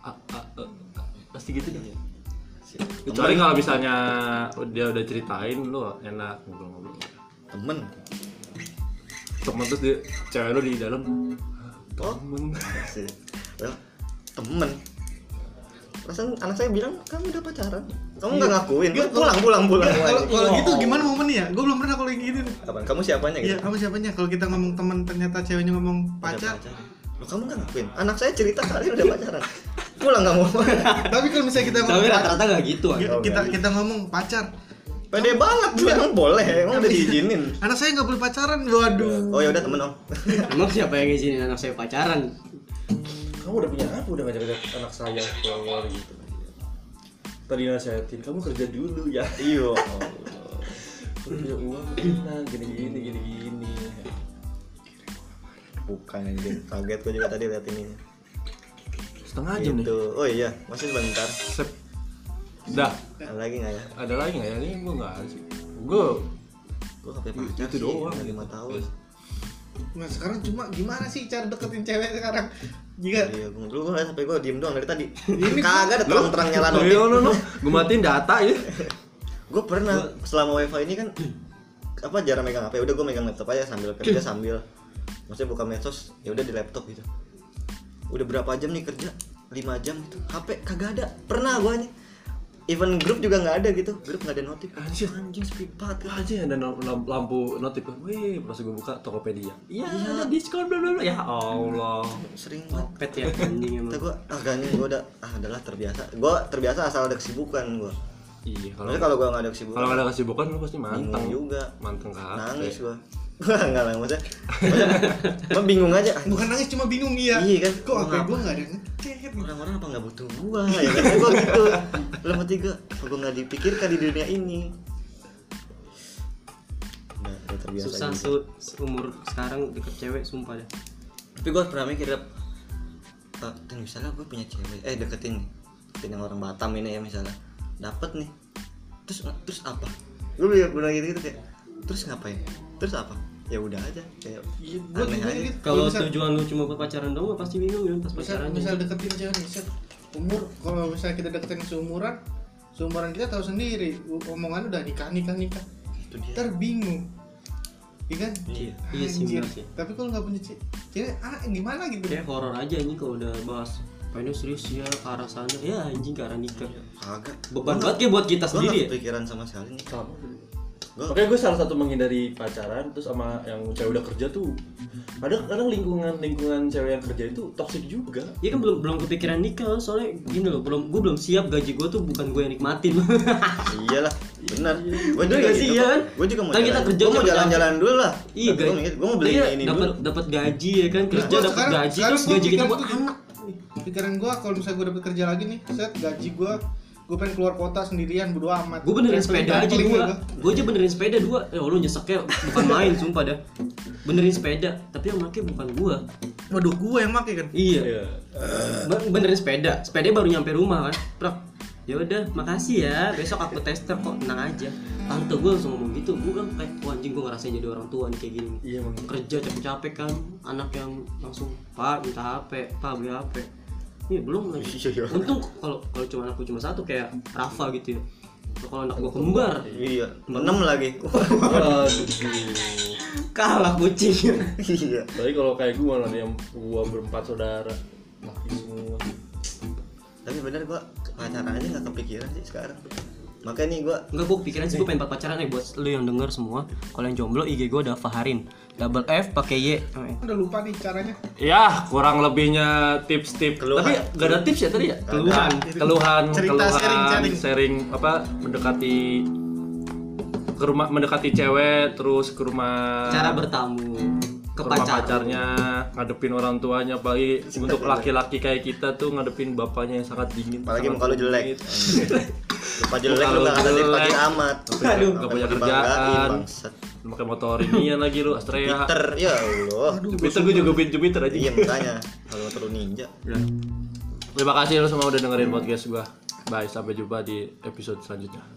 A, a, e, a. pasti gitu deh. Kecuali kalau misalnya dia udah ceritain lo enak ngobrol-ngobrol.
temen
Temen terus dia cewek lo di dalam.
kok
Temen.
sih Lah, temen perasaan anak saya bilang kamu udah pacaran kamu nggak ngakuin
Iya,
pulang pulang pulang
Kalau
Wah,
kalau gitu gimana momennya ya? Gua belum pernah kalau yang gini. nih.
kapan kamu siapanya gitu
Iya, kamu siapanya? Kalau kita ngomong teman ternyata ceweknya ngomong pacar.
Loh, kamu nggak ngakuin anak saya cerita kalian udah pacaran pulang kamu *laughs*
Tapi kalau misalnya kita
tapi rata-rata nggak gitu
kita,
anjing.
kita kita ngomong pacar.
pede banget tuh yang boleh emang udah *laughs* diizinin
Anak saya nggak boleh pacaran. Waduh.
oh ya udah *laughs* temen om
emang siapa yang ngizinin anak saya pacaran
kamu udah punya apa udah ngajak-ngajak anak saya pulang keluar gitu tadi nasihatin kamu kerja dulu ya
iyo
Kalau punya uang enak gini gini gini gini
bukan anjing kaget gua juga tadi lihat ini
Setengah jam nih.
gitu oh iya masih sebentar
Sep. Dah.
Ada lagi nggak ya
Ada lagi nggak ya? Ini gue nggak ada sih. Gue
gua kapan pacar
Itu
sih,
doang,
udah
gitu.
lima tahun
Nah sekarang cuma gimana sih cara deketin cewek sekarang? Jika
iya gua dulu gua sampai gua diem doang dari tadi
Ini-
kagak ada terang-terang nyala
Iya,
notif *laughs*
lo, lo. Gue matiin data ya.
gue pernah selama wifi ini kan *clears throat* apa jarang megang hp udah gue megang laptop aja sambil
*clears throat*
kerja sambil maksudnya buka medsos ya udah di laptop gitu udah berapa jam nih kerja 5 jam gitu hp kagak ada pernah gue nih even grup juga nggak ada gitu grup nggak ada notif
Anjir.
anjing speed banget gitu.
Aja ada no- lam- lampu notif. Wih, pas gue buka Tokopedia. Iya, ada diskon bla bla bla. Ya Allah.
sering banget
pet ya anjing
kata
emang
gue ah gue udah ah adalah terbiasa gue terbiasa asal ada kesibukan gue
Iya, kalau
maksudnya kalau gue nggak ada
kalau
kesibukan
nggak ada kesibukan lu pasti manteng.
bingung juga
Manteng kan? ke HP.
nangis gue gue *laughs* nggak lah maksudnya maksudnya gua bingung aja anjing.
bukan nangis cuma bingung iya.
Iya kan?
Kok
Mau
apa
ngapa?
gue nggak ada yang ngechat?
orang-orang apa nggak butuh gua ya kan gua gitu lama tiga apa gua nggak dipikirkan di dunia ini nah, udah terbiasa
susah
gitu.
su umur sekarang deket cewek sumpah deh
tapi gua pernah mikir Dap, "Ah, dan misalnya gua punya cewek eh deketin nih deketin yang orang Batam ini ya misalnya dapat nih terus terus apa lu bilang bilang gitu gitu kayak terus ngapain terus apa ya udah aja kayak
Iya, gua
aneh
juga
aja.
gitu.
kalau
Misal-
tujuan lu cuma buat pacaran doang lu pasti bingung ya pas
misal
pacaran
misal deketin cewek misal umur kalau misalnya kita deketin seumuran seumuran kita tahu sendiri u- omongan udah nikah nikah nikah
itu dia
ntar bingung iya kan
Iya.
Iya sih,
Anjir.
bener sih.
tapi kalau nggak punya ce- cewek ah gimana gitu
kayak horor aja anjing kalau udah bahas pengen serius ya ke arah sana ya anjing ke arah nikah
kagak
beban banget kayak buat kita
gua nggak
sendiri ya
kepikiran sama sekali nih
sama
Gua-
Makanya gue salah satu menghindari pacaran terus sama yang cewek udah kerja tuh ada kadang lingkungan lingkungan cewek yang kerja itu toksik juga
Iya kan belum belum kepikiran nikah soalnya gini loh belum gue belum siap gaji gue tuh bukan gue yang nikmatin *laughs*
iyalah benar gue
Bener gak sih, iya kan?
gue juga mau
Kan kita kerja
gua mau
capek-capek.
jalan-jalan dulu lah
iya
gue
gaji
mikir gue mau beli ini ini
dapat
dulu Nah,
dapat gaji ya kan kerja
Gua
dapat
sekarang-
gaji
sekarang
terus
gua
gaji kita
pikiran
buat
tuh,
anak
pikiran gua kalau misalnya gua dapet kerja lagi nih set gaji gua gua pengen keluar kota sendirian bodo amat
gue benerin
Traveling-
sepeda aja
traveling
dua
gitu.
gua.
gue aja benerin sepeda dua ya Allah nyeseknya bukan main sumpah dah benerin sepeda tapi yang make bukan gue
waduh gua yang make kan
iya
Iya.
Bang, benerin sepeda sepeda baru nyampe rumah kan Prak ya udah makasih ya besok aku tester kok tenang aja tante gue langsung ngomong gitu gue kan kayak "Wah, anjing gue ngerasain jadi orang tua nih kayak gini
iya emang
kerja capek-capek kan anak yang langsung pak minta HP pak beli HP ini belum lagi
Iya.
untung kalau kalau cuma anakku cuma satu kayak Rafa gitu ya kalau anak gua kembar
iya enam
*laughs*
lagi
Waduh.
kalah kucing
iya
Tapi kalau kayak gue malah ada yang gua berempat saudara laki semua.
tapi bener gue pacaran aja nggak kepikiran sih sekarang makanya nih gue
*laughs* Enggak gue kepikiran sih gue pengen pacaran ya buat lu yang denger semua kalau yang jomblo IG gue ada Faharin double F pakai Y Oh, iya.
udah lupa nih caranya
Ya, kurang lebihnya tips-tips.
Keluhan.
Tapi gak ada tips ya tadi ya?
Keluhan.
keluhan,
Cerita,
keluhan,
sharing, sharing.
sharing, apa mendekati ke rumah mendekati cewek terus ke rumah
cara bertamu
ke
ke
rumah
pacar
pacarnya ngadepin orang tuanya apalagi untuk laki-laki kayak kita tuh ngadepin bapaknya yang sangat dingin
apalagi
sangat
muka lu jelek
rumit.
*laughs* lupa jelek
Muka lu
lu nggak akan
jelek.
dipakai amat
Aduh.
Apa
Nggak punya
yang dibanggain,
kerjaan.
bangsat.
pakai motor inian lagi lu Astrea
Jupiter ya Allah
Jupiter gue juga bin Jupiter aja
iya makanya kalau motor lu ninja
Udah.
terima kasih lu semua udah dengerin podcast gua bye sampai jumpa di episode selanjutnya